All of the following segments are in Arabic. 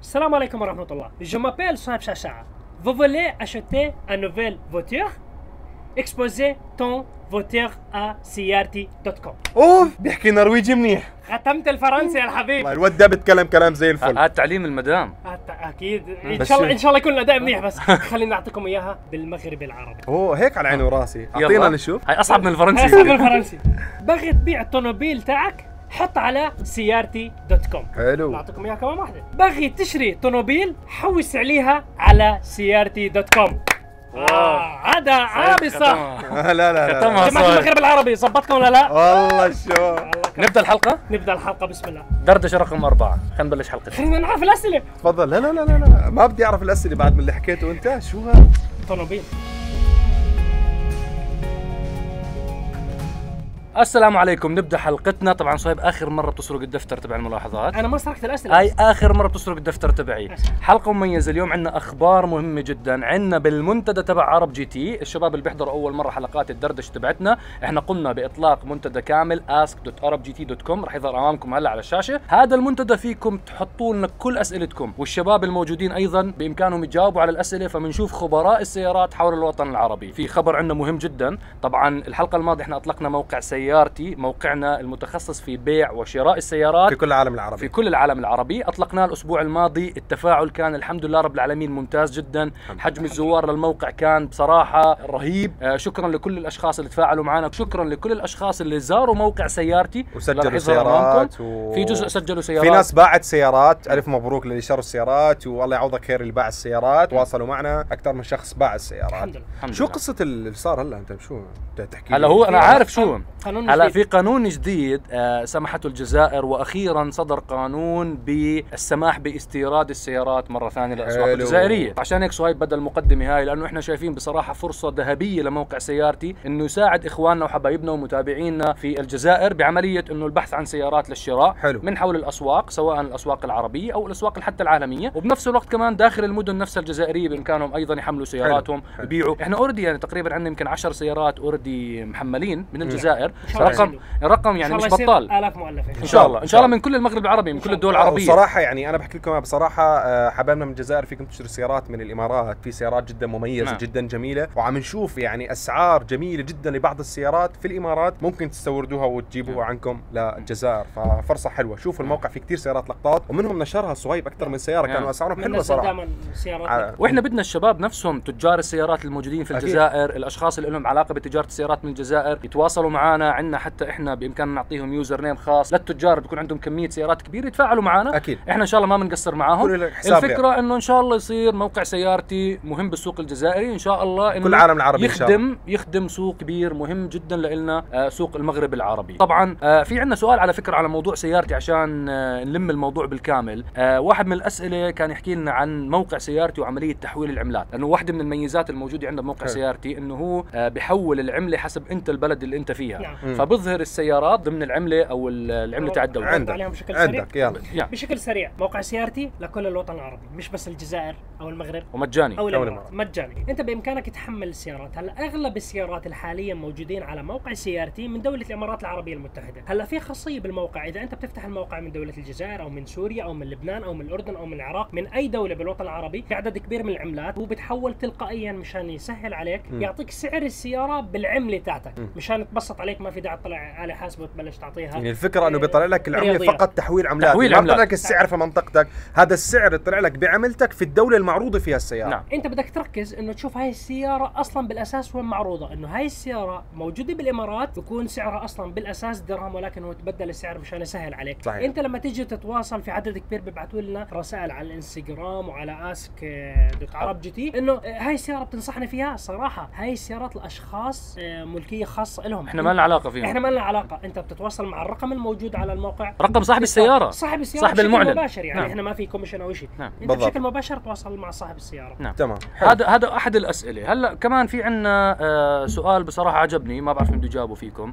Salam alaikum wa rahmatullah. Je m'appelle Sohab Chachar. Vous voulez acheter une nouvelle voiture Exposez ton voiture à سيارتي.com اوه بيحكي نرويجي منيح ختمت الفرنسي يا الحبيب والله الواد ده بيتكلم كلام زي الفل هذا تعليم المدام أت- اكيد ان بس شاء الله شو- ان شاء الله يكون الاداء منيح بس خلينا نعطيكم اياها بالمغربي العربي اوه هيك على عيني وراسي آه. يلا. اعطينا نشوف هاي اصعب من هسه الفرنسي بالفرنسي بغي تبيع الطوموبيل تاعك حط على سيارتي دوت كوم حلو بعطيكم اياها كمان واحده بغي تشتري طوموبيل حوس عليها على سيارتي دوت كوم آه، هذا عربي صح ختمها. آه، لا لا لا ختمها. جماعه صار. المغرب العربي زبطكم ولا لا والله شو نبدا الحلقه نبدا الحلقه بسم الله دردشه رقم اربعه خلينا نبلش حلقتنا خلينا نعرف الاسئله تفضل لا لا لا لا لا ما بدي اعرف الاسئله بعد من اللي حكيته انت شو هذا طوموبيل السلام عليكم نبدا حلقتنا طبعا صهيب اخر مره بتسرق الدفتر تبع الملاحظات انا ما سرقت الاسئله هاي اخر مره بتسرق الدفتر تبعي حلقه مميزه اليوم عندنا اخبار مهمه جدا عندنا بالمنتدى تبع عرب جي تي الشباب اللي بيحضروا اول مره حلقات الدردش تبعتنا احنا قمنا باطلاق منتدى كامل ask.arabgt.com رح يظهر امامكم هلا على الشاشه هذا المنتدى فيكم تحطوا لنا كل اسئلتكم والشباب الموجودين ايضا بامكانهم يجاوبوا على الاسئله فبنشوف خبراء السيارات حول الوطن العربي في خبر عندنا مهم جدا طبعا الحلقه الماضيه احنا اطلقنا موقع سيارتي موقعنا المتخصص في بيع وشراء السيارات في كل العالم في العربي كل العالم العربي اطلقناه الاسبوع الماضي التفاعل كان الحمد لله رب العالمين ممتاز جدا حجم الزوار للموقع كان بصراحه رهيب آه، شكرا لكل الاشخاص اللي تفاعلوا معنا شكرا لكل الاشخاص اللي زاروا موقع سيارتي اللي وسجلوا رح يظهر سيارات أمامكم. و... في جزء سجلوا سيارات في ناس باعت سيارات الف مبروك للي شروا السيارات والله يعوضك خير اللي باع السيارات واصلوا معنا اكثر من شخص باع السيارات الحمد لله الحمد شو لله. قصه اللي صار هلا انت شو بدك تحكي هلا لي؟ هو انا عارف شو قانون هلا جديد. في قانون جديد آه، سمحته الجزائر واخيرا صدر قانون بالسماح باستيراد السيارات مره ثانيه للاسواق حلو. الجزائريه عشان هيك صهيب بدا المقدمه هاي لانه احنا شايفين بصراحه فرصه ذهبيه لموقع سيارتي انه يساعد اخواننا وحبايبنا ومتابعينا في الجزائر بعمليه انه البحث عن سيارات للشراء حلو. من حول الاسواق سواء الاسواق العربيه او الاسواق حتى العالميه وبنفس الوقت كمان داخل المدن نفسها الجزائريه بامكانهم ايضا يحملوا سياراتهم حلو. يبيعوا احنا اوريدي يعني تقريبا عندنا يمكن 10 سيارات اوريدي محملين من الجزائر شاء الله رقم يصير. رقم يعني مش بطال الاف مؤلفه ان شاء الله ان شاء الله من كل المغرب العربي من إن شاء كل الدول آه، العربيه وصراحة يعني أنا بحكي لكم بصراحة آه، حبايبنا من الجزائر فيكم تشتروا سيارات من الإمارات، في سيارات جدا مميزة نعم. جدا جميلة وعم نشوف يعني أسعار جميلة جدا لبعض السيارات في الإمارات ممكن تستوردوها نعم. وتجيبوها عنكم للجزائر، ففرصة حلوة، شوفوا الموقع في كتير سيارات لقطات ومنهم نشرها صهيب أكثر من سيارة نعم. كانوا أسعارهم حلوة حلوه صراحة. صراحه دائما سيارات آه، واحنا بدنا الشباب نفسهم تجار السيارات الموجودين في أكيد. الجزائر الاشخاص اللي لهم علاقه بتجاره السيارات من الجزائر يتواصلوا معنا عندنا حتى احنا بامكاننا نعطيهم يوزر نيم خاص للتجار بتكون عندهم كميه سيارات كبيره يتفاعلوا معنا أكيد. احنا ان شاء الله ما بنقصر معاهم كل لك حساب الفكره انه ان شاء الله يصير موقع سيارتي مهم بالسوق الجزائري ان شاء الله انه كل العالم العربي إن شاء الله. يخدم يخدم سوق كبير مهم جدا لنا آه، سوق المغرب العربي طبعا آه، في عندنا سؤال على فكره على موضوع سيارتي عشان آه، نلم الموضوع بالكامل آه، واحد من الاسئله كان يحكي لنا عن موقع سيارتي وعمليه تحويل العملات لانه واحده من الميزات الموجوده عندنا بموقع حلو. سيارتي انه هو آه، بحول العمله حسب انت البلد اللي انت فيها نعم. مم. فبظهر السيارات ضمن العمله او ال- العمله تاع الدوله عند- عندك عليهم بشكل سريع. عندك يلا يعني بشكل سريع موقع سيارتي لكل الوطن العربي مش بس الجزائر او المغرب ومجاني او الإمارات. الامارات مجاني انت بامكانك تحمل السيارات هلا اغلب السيارات الحاليه موجودين على موقع سيارتي من دوله الامارات العربيه المتحده هلا في خاصيه بالموقع اذا انت بتفتح الموقع من دوله الجزائر او من سوريا او من لبنان او من الاردن او من العراق من اي دوله بالوطن العربي في عدد كبير من العملات هو بتحول تلقائيا مشان يسهل عليك مم. يعطيك سعر السياره بالعمله تاعتك مم. مشان تبسط عليك ما في داعي تطلع على حاسبه وتبلش تعطيها يعني الفكرة انه بيطلع لك العملة رياضيات. فقط تحويل عملات تحويل ما عملات. بيطلع لك السعر في منطقتك، هذا السعر يطلع لك بعملتك في الدولة المعروضة فيها السيارة. نعم انت بدك تركز انه تشوف هاي السياره اصلا بالاساس وين معروضه انه هاي السياره موجوده بالامارات بكون سعرها اصلا بالاساس درهم ولكن هو تبدل السعر مشان يسهل عليك صحيح. انت لما تيجي تتواصل في عدد كبير بيبعثوا لنا رسائل على الانستغرام وعلى اسك دوت عرب جي تي انه آه، هاي السياره بتنصحنا فيها صراحه هاي السيارات الاشخاص آه، ملكيه خاصه لهم احنا ما لنا علاقه فيهم احنا ما لنا علاقه انت بتتواصل مع الرقم الموجود على الموقع رقم صاحب السياره صاحب السياره صاحب بشكل المعلن. مباشر يعني نعم. احنا ما في كوميشن او شيء نعم. انت بالضبط. بشكل مباشر تواصل مع صاحب السياره نعم. تمام حلو. هذا هذا احد الاسئله هلا كمان في عندنا آه سؤال بصراحه عجبني ما بعرف مين بده يجاوبه فيكم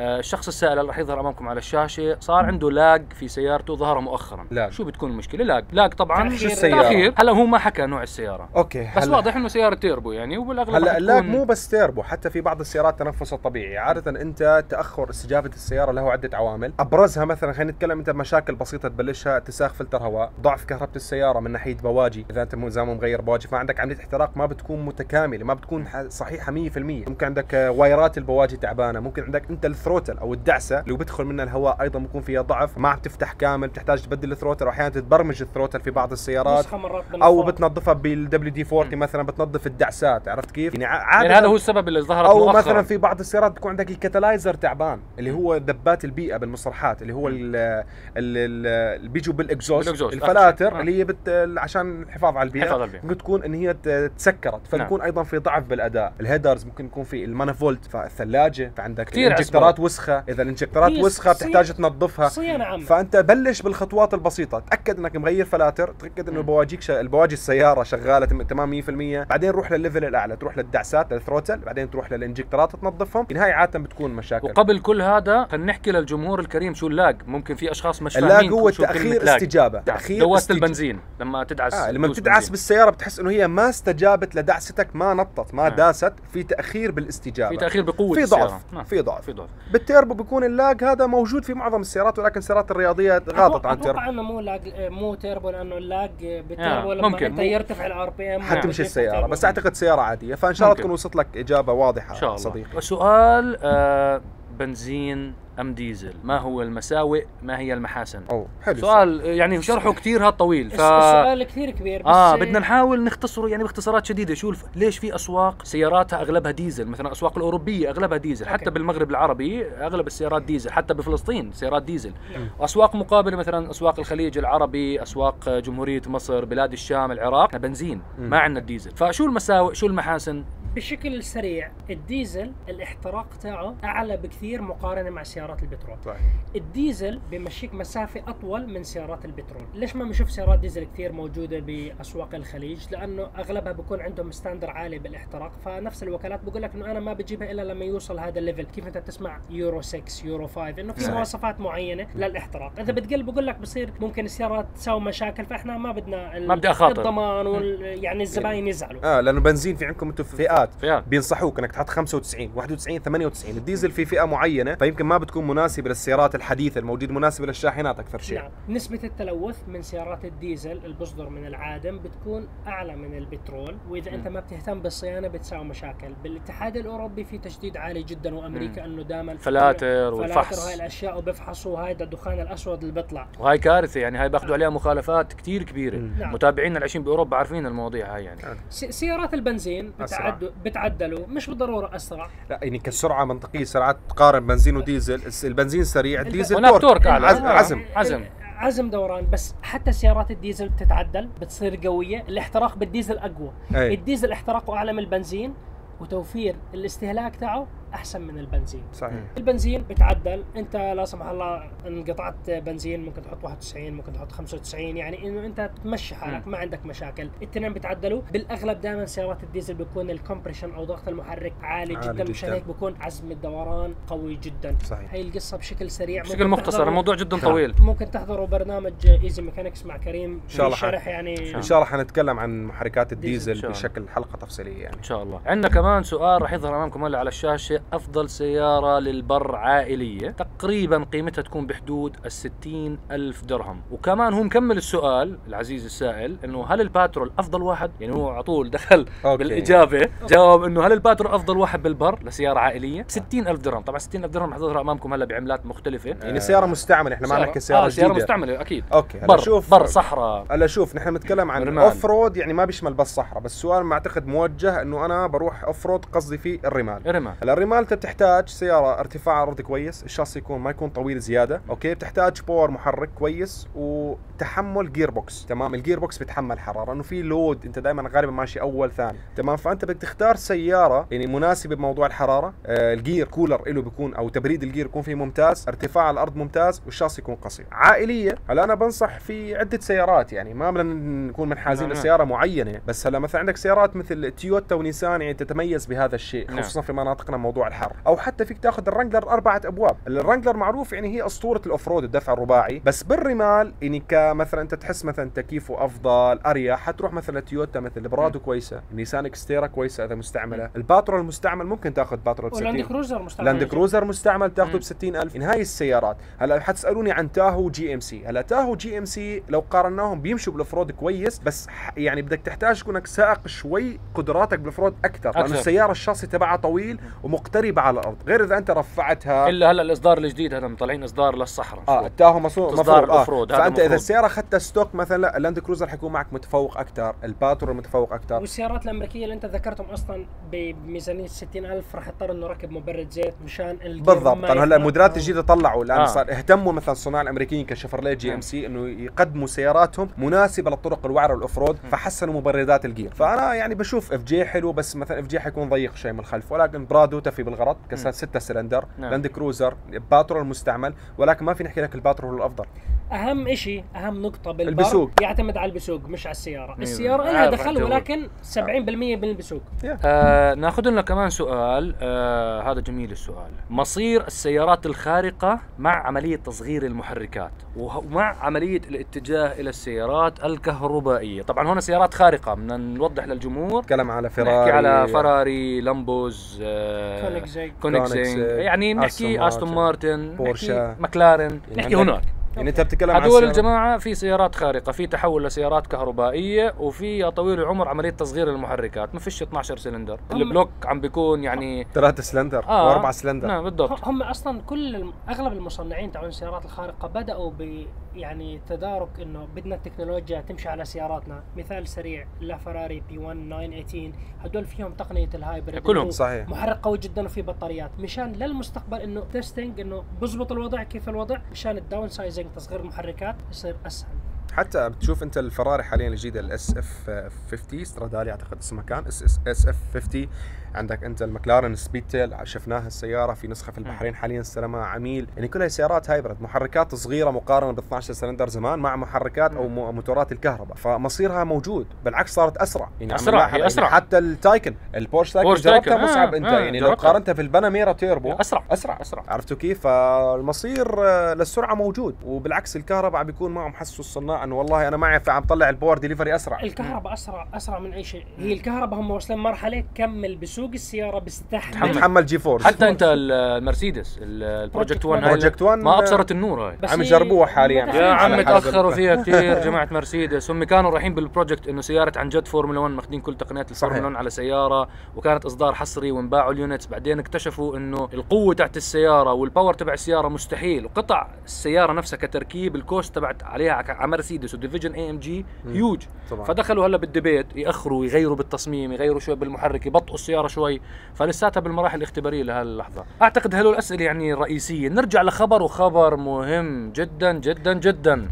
آه الشخص السائل اللي راح يظهر امامكم على الشاشه صار عنده لاج في سيارته ظهر مؤخرا لاج. شو بتكون المشكله لاج لاج طبعا تأخير. شو السيارة؟ تأخير. هلا هو ما حكى نوع السياره اوكي بس هلا- واضح انه سياره تيربو يعني وبالاغلب هلا راح اللاج تكون- مو بس تيربو حتى في بعض السيارات تنفسها طبيعي عاده انت متى تاخر استجابه السياره له عده عوامل ابرزها مثلا خلينا نتكلم انت مشاكل بسيطه تبلشها اتساخ فلتر هواء ضعف كهرباء السياره من ناحيه بواجي اذا انت مو- اذا مو مغير بواجي فعندك عمليه احتراق ما بتكون متكامله ما بتكون ح- صحيحه 100% ممكن عندك آه، وايرات البواجي تعبانه ممكن عندك انت الثروتل او الدعسه اللي بيدخل منها الهواء ايضا بيكون فيها ضعف ما عم تفتح كامل بتحتاج تبدل الثروتل واحيانا تتبرمج الثروتل في بعض السيارات نسخه مرات او بالنظام. بتنظفها بالدبليو دي 40 مثلا بتنظف الدعسات عرفت كيف؟ يعني ع- عاده يعني هذا هو السبب اللي ظهرت او مؤخرا مثلا في بعض السيارات بتكون عندك الكتلايزر تعبان اللي هو دبات البيئه بالمصرحات اللي هو ال- ال- ال- اللي بيجوا بالاكزوست بالإكزوست، الفلاتر آه. اللي هي بت عشان الحفاظ على البيئه حفاظ على البيئة. ممكن تكون ان هي ت- تسكرت فبكون ايضا في ضعف بالاداء الهيدرز ممكن يكون في المانيفولت فالثلاجه فعندك كتير الانجكترات وسخه اذا الانجكترات في وسخه صيانة- بتحتاج تنظفها صيانه عامه فانت بلش بالخطوات البسيطه تاكد انك مغير فلاتر تاكد انه مم. بواجيك ش... البواجي السياره شغاله تم- تمام 100% بعدين روح للليفل الاعلى تروح للدعسات للثروتل بعدين تروح للانجكترات تنظفهم النهايه عاده بتكون مشاكل وقبل كل هذا خلينا نحكي للجمهور الكريم شو اللاج ممكن في اشخاص مش اللاج فاهمين هو شو كلمة تاخير لاج. استجابه نعم. تاخير دواسة استج- البنزين لما تدعس آه لما تدوس بتدعس بنزين. بالسياره بتحس انه هي ما استجابت لدعستك ما نطت ما آه. داست في تاخير بالاستجابه في تاخير بقوه في السيارة. ضعف نعم. في ضعف في ضعف بالتيربو بيكون اللاج هذا موجود في معظم السيارات ولكن السيارات الرياضيه غاضت عن التيربو اتوقع انه مو لاج مو تيربو لانه اللاج بالتيربو آه، لما ممكن. انت يرتفع الار بي ام حتمشي السياره بس اعتقد سياره عاديه فان شاء الله نعم. ممكن. تكون وصلت لك اجابه واضحه ان شاء الله صديقي سؤال آه بنزين ام ديزل ما هو المساوئ ما هي المحاسن او حلو سؤال يعني شرحه كثير هاد طويل ف السؤال كثير كبير بس اه إيه؟ بدنا نحاول نختصره يعني باختصارات شديده شو الف... ليش في اسواق سياراتها اغلبها ديزل مثلا الاسواق الاوروبيه اغلبها ديزل حتى أوكي. بالمغرب العربي اغلب السيارات ديزل حتى بفلسطين سيارات ديزل نعم. اسواق مقابله مثلا اسواق الخليج العربي اسواق جمهوريه مصر بلاد الشام العراق إحنا بنزين مم. ما عندنا الديزل فشو المساوئ شو المحاسن بشكل سريع الديزل الاحتراق تاعه اعلى بكثير مقارنه مع سيارات البترول صحيح. الديزل بيمشيك مسافه اطول من سيارات البترول ليش ما بنشوف سيارات ديزل كثير موجوده باسواق الخليج لانه اغلبها بيكون عندهم ستاندر عالي بالاحتراق فنفس الوكالات بقول لك انه انا ما بجيبها الا لما يوصل هذا الليفل كيف انت بتسمع يورو 6 يورو 5 انه في صحيح. مواصفات معينه نعم. للاحتراق اذا بتقل بقول لك بصير ممكن السيارات تساوي مشاكل فاحنا ما بدنا ال- ما بدي أخاطر. نعم. الضمان وال... يعني الزباين يزعلوا اه لانه بنزين في عندكم انتم فئات فيها بينصحوك انك تحط 95 91 98 الديزل في فئه معينه فيمكن ما بتكون مناسبه للسيارات الحديثه الموجوده مناسبه للشاحنات اكثر شيء نعم نسبة التلوث من سيارات الديزل اللي بصدر من العادم بتكون أعلى من البترول وإذا مم. أنت ما بتهتم بالصيانة بتساوي مشاكل بالاتحاد الأوروبي في تشديد عالي جدا وأمريكا أنه دائما فلاتر فلاتر وهاي والفحص الأشياء وبفحصوا هذا الدخان الأسود اللي بيطلع وهاي كارثه يعني هاي باخذوا عليها مخالفات كتير كبيره مم. نعم. متابعينا اللي عايشين باوروبا عارفين المواضيع هاي يعني س- سيارات البنزين أسرع. بتعدوا بتعدلوا مش بالضرورة أسرع لا يعني كالسرعه منطقيه سرعات تقارن بنزين وديزل الس- البنزين سريع الديزل هناك تورك أعلى. عزم, آه. عزم. عزم. عزم دوران بس حتى سيارات الديزل بتتعدل بتصير قوية الاحتراق بالديزل أقوى اي الديزل احتراقه اعلى من البنزين وتوفير الاستهلاك تاعه احسن من البنزين نعم. صحيح البنزين بتعدل انت لا سمح الله انقطعت بنزين ممكن تحط 91 ممكن تحط 95 يعني انه انت تمشي حالك ما عندك مشاكل الاثنين بتعدلوا بالاغلب دائما سيارات الديزل بيكون الكمبريشن او ضغط المحرك عالي, عالي جدا مشان جداً. هيك بيكون عزم الدوران قوي جدا صحيح. نعم. هاي القصه بشكل سريع بشكل ممكن مختصر تحضروا- الموضوع جدا نعم. طويل ممكن تحضروا برنامج ايزي ميكانكس مع كريم ان شاء الله حن- شرح يعني ان شاء الله حنتكلم عن محركات ديزل. الديزل, إن شاء الله. بشكل حلقه تفصيليه يعني ان شاء الله عندنا كمان سؤال راح يظهر امامكم هلا على الشاشه افضل سياره للبر عائليه تقريبا قيمتها تكون بحدود ال 60 الف درهم وكمان هو مكمل السؤال العزيز السائل انه هل الباترول افضل واحد يعني هو على طول دخل أوكي. بالاجابه جاوب انه هل الباترول افضل واحد بالبر لسياره عائليه 60 الف درهم طبعا 60 الف درهم راح تظهر امامكم هلا بعملات مختلفه يعني سياره مستعمله احنا ما نحكي سياره آه سياره جديده مستعمله اكيد اوكي هلا بر شوف بر صحراء هلا شوف نحن بنتكلم عن الرمال. اوف رود يعني ما بيشمل بس صحراء بس السؤال ما اعتقد موجه انه انا بروح اوف رود قصدي فيه الرمال ارمى هلا الرمال انت بتحتاج سياره ارتفاع عرض كويس الشاصي يكون ما يكون طويل زياده اوكي بتحتاج باور محرك كويس وتحمل جير بوكس تمام الجير بوكس بيتحمل حراره انه في لود انت دائما غالبا ماشي اول ثاني تمام فانت بدك تختار سياره يعني مناسبه بموضوع الحراره آه الجير كولر له بيكون او تبريد الجير يكون فيه ممتاز ارتفاع الارض ممتاز والشاصي يكون قصير عائليه هلا انا بنصح في عده سيارات يعني ما بدنا نكون منحازين نعم. لسياره معينه بس هلا مثلا عندك سيارات مثل تويوتا ونيسان يعني تتميز بهذا الشيء نعم. خصوصا في مناطقنا موضوع موضوع الحر او حتى فيك تاخذ الرانجلر اربعه ابواب الرانجلر معروف يعني هي اسطوره الاوف رود الدفع الرباعي بس بالرمال يعني كمثلا انت تحس مثلا تكييفه افضل اريح حتروح مثلا تويوتا مثل نعم. البرادو كويسه النيسان اكستيرا كويسه اذا مستعمله الباترول المستعمل ممكن تاخذ باترول ب ولاند 60 كروزر مستعمل لاند كروزر مستعمل تاخذه مم. ب 60000 إن هاي السيارات هلا حتسالوني عن تاهو جي ام سي هلا تاهو جي ام سي لو قارناهم بيمشوا بالافرود كويس بس ح- يعني بدك تحتاج كونك سائق شوي قدراتك بالافرود اكثر أكثر. لانه السياره الشاصي تبعها طويل ومقتربه على الارض غير اذا انت رفعتها الا هلا الاصدار الجديد هذا مطلعين اصدار للصحراء اه التاهو مصنوع إصدار مفروض اه الأوفرود، هذا فانت اذا مفروض. السياره اخذتها ستوك مثلا لا اللاند كروزر حيكون معك متفوق اكثر الباترول متفوق اكثر والسيارات الامريكيه اللي انت ذكرتهم اصلا بميزانيه 60000 راح يضطر انه يركب مبرد زيت مشان الجير بالضبط ما طبعا هلا يحرق. الموديلات الجديده طلعوا الان آه. نعم. آه. صار اهتموا مثلا الصناع الامريكيين كشفرليه جي مم. ام سي انه يقدموا سياراتهم مناسبه للطرق الوعره والاوف رود فحسنوا مبردات الجير فانا يعني بشوف اف جي حلو بس مثلا اف جي حيكون ضيق شوي من الخلف ولكن برادو تفي بالغرض كسر ستة سلندر نعم. لاند كروزر باترول المستعمل ولكن ما في نحكي لك الباترول هو الافضل اهم إشي اهم نقطه بالبر البسوق. يعتمد على البسوق مش على السياره مية السياره بالمية. لها عارف أنت دخل هو. ولكن 70% من البسوق آه ناخذ لنا كمان سؤال آه هذا جميل السؤال مصير السيارات الخارقة مع عملية تصغير المحركات وه- ومع عملية الاتجاه إلى السيارات الكهربائية طبعا هنا سيارات خارقة بدنا نوضح للجمهور نتكلم على فيراري نحكي على فراري لامبوز آه، كونيكزاج. كونيكزينج كونيكزيج، يعني نحكي أستون استون مارتن بورشا. نحكي مكلارن يعني نحكي عندك هناك يعني انت بتتكلم عن هدول سيارات- الجماعة في سيارات خارقة في تحول لسيارات كهربائية وفي يا طويل العمر عملية تصغير المحركات ما فيش 12 سلندر هم- البلوك عم بيكون يعني ثلاثة سلندر آه. واربعة سلندر نعم بالضبط هم اصلا كل الم- اغلب المصنعين تاعون السيارات الخارقه بداوا ب يعني تدارك انه بدنا التكنولوجيا تمشي على سياراتنا مثال سريع لا فراري بي 1 918 هدول فيهم تقنيه الهايبريد كلهم اللي هو صحيح محرك قوي جدا وفي بطاريات مشان للمستقبل انه تيستنج انه بزبط الوضع كيف الوضع مشان الداون سايزنج تصغير المحركات يصير اسهل حتى بتشوف انت الفراري حاليا الجديده الاس اف 50 سترادالي اعتقد اسمها كان اس اف 50 عندك انت المكلارن سبيد تيل شفناها السياره في نسخه في البحرين حاليا استلمها عميل يعني كلها سيارات هايبرد محركات صغيره مقارنه ب 12 سلندر زمان مع محركات او مو- موتورات الكهرباء فمصيرها موجود بالعكس صارت اسرع يعني عم أسرع، نلاحظ هي يعني أسرع. حتى التايكن البورش تايكن بورش جربتها تايكن، آه، مصعب انت آه، يعني لو جربتها. قارنتها في الباناميرا تيربو أسرع اسرع أسرع عرفتوا كيف؟ فالمصير آه، للسرعه موجود وبالعكس الكهرباء عم بيكون معهم حسوا الصناع انه والله انا معي فعم طلع الباور ديليفري اسرع نعم. الكهرباء اسرع اسرع من اي شيء هي الكهرباء هم واصلين مرحله كمل بسوق السياره بيستحمل تحمل. بتحمل جي فورس حتى انت ال- المرسيدس ال- البروجكت 1 هاي بروجكت 1 ما ابصرت النور هاي بس عم هي يجربوها حالياً. ما يا يا دخلت عم على- تاخروا فيها كثير جماعه مرسيدس هم كانوا رايحين بالبروجكت انه سياره عن جد فورمولا 1 ماخذين كل تقنيات الفورمولا صحيح. 1 على سياره وكانت اصدار حصري وانباعوا اليونتس بعدين اكتشفوا انه القوه تاعت السياره والباور تبع السياره مستحيل وقطع السياره نفسها كتركيب الكوست تبعت عليها ع- على مرسيدس وديفيجن اي ام جي مم. هيوج طبعا فدخلوا هلا بالديبيت ياخروا يغيروا بالتصميم يغيروا شوي بالمحرك يبطئوا السياره شوي فلساتها بالمراحل الاختباريه لهاللحظه اعتقد هلو الاسئله يعني الرئيسيه نرجع لخبر وخبر مهم جدا جدا جدا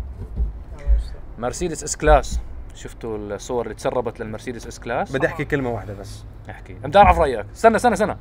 مرسيدس اس كلاس شفتوا الصور اللي تسربت للمرسيدس اس كلاس بدي احكي كلمه واحده بس احكي بدي اعرف رايك استنى استنى استنى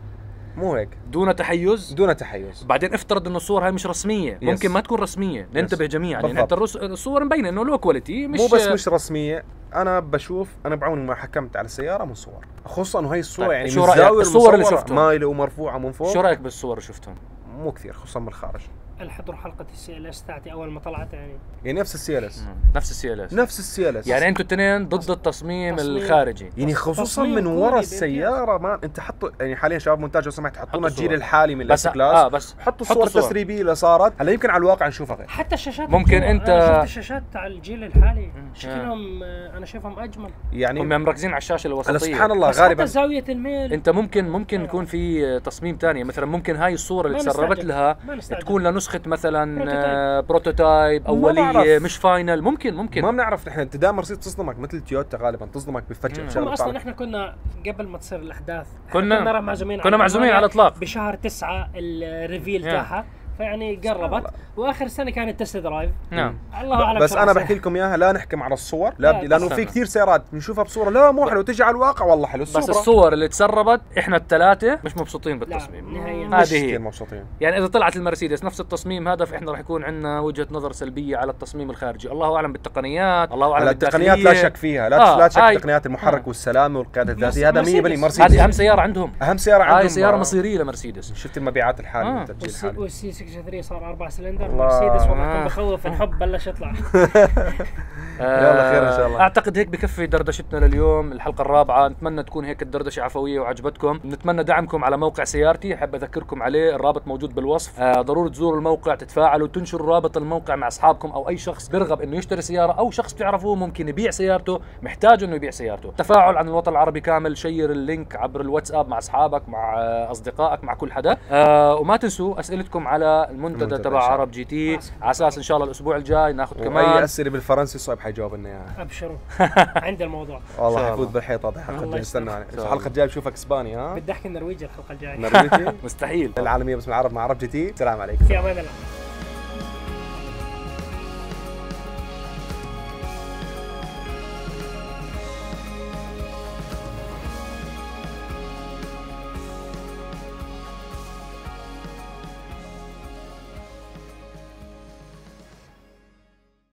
مو هيك دون تحيز دون تحيز بعدين افترض انه الصور هاي مش رسميه ممكن ما تكون رسميه ننتبه جميعا يعني بالضبط. حتى الرس- الصور مبينه انه لو كواليتي مش مو بس مش رسميه انا بشوف انا بعوني ما حكمت على السياره من صور خصوصا انه هي الصوره طيب، يعني شو من رأيك؟ الزاويه الصور اللي المصورة شفتهم. مايله ومرفوعه من شو فوق رايك بالصور اللي شفتهم مو كثير خصوصا من الخارج الحضر حلقه السي ال اس تاعتي اول ما طلعت يعني يعني نفس السي ال اس نفس السي ال اس نفس السي ال اس يعني انتوا الاثنين ضد التصميم تصميم. الخارجي يعني خصوصا تصميم من كوري ورا بامتياز. السياره ما انت حطوا يعني حاليا شباب مونتاج لو سمحت حطوا حطونا الجيل صور. الحالي من بس الاس كلاس اه بس حطوا الصور التسريبيه اللي صارت هلا يمكن على الواقع نشوفها غير حتى الشاشات ممكن الجوا، أنت- أنا شفت الشاشات تاع الجيل الحالي مم. شكلهم آه، انا شايفهم اجمل يعني هم مركزين على الشاشه انا الوسطيه سبحان الله بس حتى غالبا زاويه الميل انت ممكن ممكن يكون في تصميم تاني مثلا ممكن هاي الصوره اللي ما تسربت نستعجل. لها ما نستعجل. تكون لنسخه مثلا بروتوتايب. آه، بروتوتايب ما اوليه بعرف. مش فاينل ممكن ما ممكن بنعرف نحن انت دائما مرسيدس تصدمك مثل تويوتا غالبا تصدمك بفجأة مم. هم بشغلة اصلا طالعة. احنا كنا قبل ما تصير الاحداث إحنا كنا- كنا معزومين كنا معزومين على نعم. الإيطاليا الإطلاق. بشهر تسعة الريفيل يا. تاعها فيعني قربت واخر سنه كانت تست درايف نعم الله اعلم بس شو راح انا يصير. بحكي لكم اياها لا نحكم على الصور لا، لا بدي لانه في استنى. كثير سيارات بنشوفها بصوره لا مو حلو تجي على الواقع والله حلو بس الصور اللي تسربت احنا الثلاثه مش مبسوطين بالتصميم لا نهائيا هذه هذه هي. كثير مبسوطين يعني اذا طلعت المرسيدس نفس التصميم هذا فاحنا راح يكون عندنا وجهه نظر سلبيه على التصميم الخارجي الله اعلم بالتقنيات الله اعلم على التقنيات لا بالداخلية. شك فيها لا آه، لا شك هاي. تقنيات المحرك والسلامه والقياده الذاتيه هذا 100% مرسيدس. مرسيدس هذه اهم سياره عندهم اهم سياره عندهم هاي سياره آه، مصيريه لمرسيدس شفت المبيعات الحاليه آه. التسجيل والسي الحالي والسي 63 صار اربع سلندر الله. مرسيدس آه. وضعكم بخوف الحب بلش يطلع يلا خير إن شاء الله. اعتقد آه، هيك بكفي دردشتنا لليوم الحلقه الرابعه نتمنى تكون هيك الدردشه عفويه وعجبتكم نتمنى دعمكم على موقع سيارتي احب اذكركم عليه الرابط موجود بالوصف آه ضروري تزوروا الموقع تتفاعلوا تنشروا رابط الموقع مع اصحابكم او اي شخص بيرغب انه يشتري سياره او شخص تعرفوه ممكن يبيع سيارته محتاج انه يبيع سيارته تفاعل عن الوطن العربي كامل شير اللينك عبر الواتساب مع اصحابك مع آه، اصدقائك مع كل حدا آه وما تنسوا اسئلتكم على المنتدى المنتدى تبع إن شاء الله. عرب جي تي على اساس ان شاء الله الاسبوع الجاي ناخذ واي كمان اسئله بالفرنسي صعب حيجاوب لنا اياها ابشروا عند الموضوع والله الله. حيفوت بالحيط هذا الحلقه الله الجايه يستر. استنى عليه. الله. الحلقه الجايه بشوفك اسباني ها بدي احكي النرويجي الحلقه الجايه نرويجي مستحيل العالميه باسم العرب مع عرب جي تي السلام عليكم في امان الله